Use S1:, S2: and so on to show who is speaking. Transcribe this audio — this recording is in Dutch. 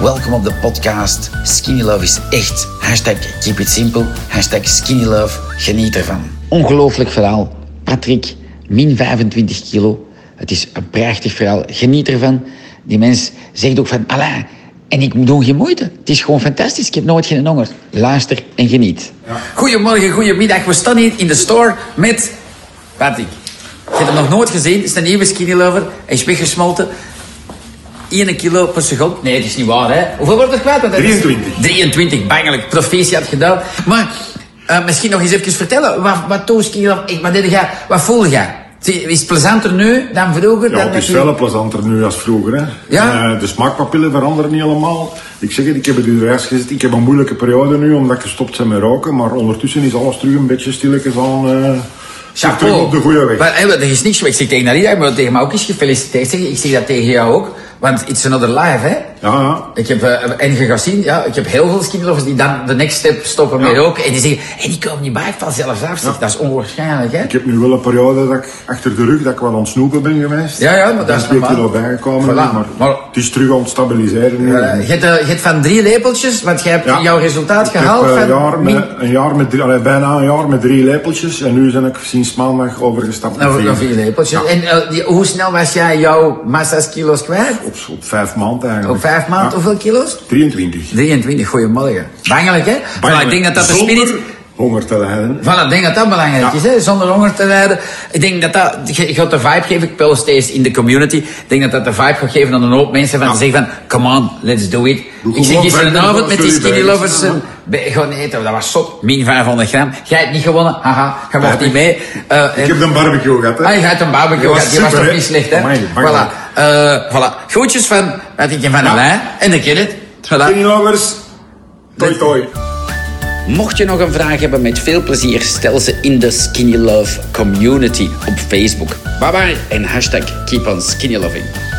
S1: Welkom op de podcast. Skinny Love is echt. Hashtag keep it simple. Hashtag skinny love. Geniet ervan. Ongelooflijk verhaal. Patrick, min 25 kilo. Het is een prachtig verhaal. Geniet ervan. Die mens zegt ook van, Allah, en ik doe geen moeite. Het is gewoon fantastisch. Ik heb nooit geen honger. Luister en geniet. Goedemorgen, goedemiddag. We staan hier in de store met Patrick. Ik heb hem nog nooit gezien. Het is een nieuwe skinny lover. Hij is weggesmolten. 1 kilo per seconde. Nee, dat is niet waar, hè. Hoeveel wordt er kwijt? Want dat is-
S2: 23.
S1: 23, bangelijk. Proficiat gedaan. Maar eh, misschien nog eens even vertellen. Wat, wat doe skinny lover? Ik- Wat, deed jij? wat voel jij? Zie, Is het plezanter nu dan vroeger?
S2: Ja,
S1: dan
S2: het is
S1: dat je-
S2: veel plezanter nu als vroeger. Hè.
S1: Ja?
S2: Eh, de smaakpapillen veranderen niet helemaal. Ik zeg het, ik heb het u juist gezet. Ik heb een moeilijke periode nu, omdat ik gestopt ben met roken. Maar ondertussen is alles terug een beetje stilletjes aan... eh, zit terug op de goede weg.
S1: Maar, hè, er is niks meer. Ik zeg tegen Narita, maar tegen mij ook eens gefeliciteerd. Zeg, ik zeg dat tegen jou ook. Want it's another life, hè?
S2: Ja, ja.
S1: Ik heb, eh, en je gaat zien, ja, ik heb heel veel skinlovers die dan de next step stoppen
S2: Ja.
S1: met roken. En die zeggen, hé, die komen niet bij vanzelf af. Zeg, Dat is onwaarschijnlijk, hè?
S2: Ik heb nu wel een periode dat ik achter de rug dat ik wel aan het snoepen ben geweest.
S1: Ja, ja, maar dat is
S2: Ik ben twee
S1: normaal.
S2: kilo bijgekomen,
S1: Voilà,
S2: maar,
S1: maar-
S2: het is terug aan het stabiliseren. nu.
S1: Eh, je, hebt, eh, je hebt van drie lepeltjes, want jij hebt
S2: Ja.
S1: jouw resultaat
S2: Ik heb,
S1: gehaald.
S2: eh,
S1: van
S2: jaar met-
S1: min-
S2: een jaar met drie, allee, bijna een jaar met drie lepeltjes. En nu ben ik sinds maandag overgestapt naar
S1: nou, nog vier lepeltjes.
S2: Ja.
S1: En eh, die- hoe snel was jij jouw massa's kilo's kwijt?
S2: Op, op vijf maanden eigenlijk.
S1: Op vijf maanden,
S2: Ja.
S1: hoeveel kilo's?
S2: 23.
S1: 23, goeiemorgen. Bangelijk, hè? Voilà, ik denk dat dat de
S2: Zonder
S1: spirit...
S2: Honger te lijden.
S1: Voilà, ik denk dat dat belangrijk
S2: Ja.
S1: is, hè? zonder honger te lijden. Ik denk dat dat, je je gaat de vibe geven, ik pel steeds in de community. Ik denk dat dat de vibe gaat geven aan een hoop mensen van
S2: Ja.
S1: te zeggen van, come on, let's do it.
S2: Doe
S1: ik zit
S2: gewoon
S1: gisterenavond
S2: verder,
S1: met die
S2: dan
S1: skinny
S2: zul je
S1: lovers
S2: bij
S1: eh,
S2: zijn,
S1: bij- gaan eten, dat was zot, min 500 gram. Jij hebt niet gewonnen, haha, je mocht
S2: heb
S1: niet mee. Eh,
S2: Ik
S1: en-
S2: heb een barbecue gehad, hè?
S1: Ah, je gaat een barbecue,
S2: Die was
S1: gehad, die was
S2: super,
S1: toch
S2: hè?
S1: niet slecht, hè?
S2: Amai, bang,
S1: voilà. Eh, voilà. Groetjes van, wat ik je van Alain, en de kid. Voilà.
S2: Skinny lovers, nou toi toi.
S1: Mocht je nog een vraag hebben, met veel plezier stel ze in de Skinny Love Community op Facebook. Bye bye en hashtag keep on skinny loving.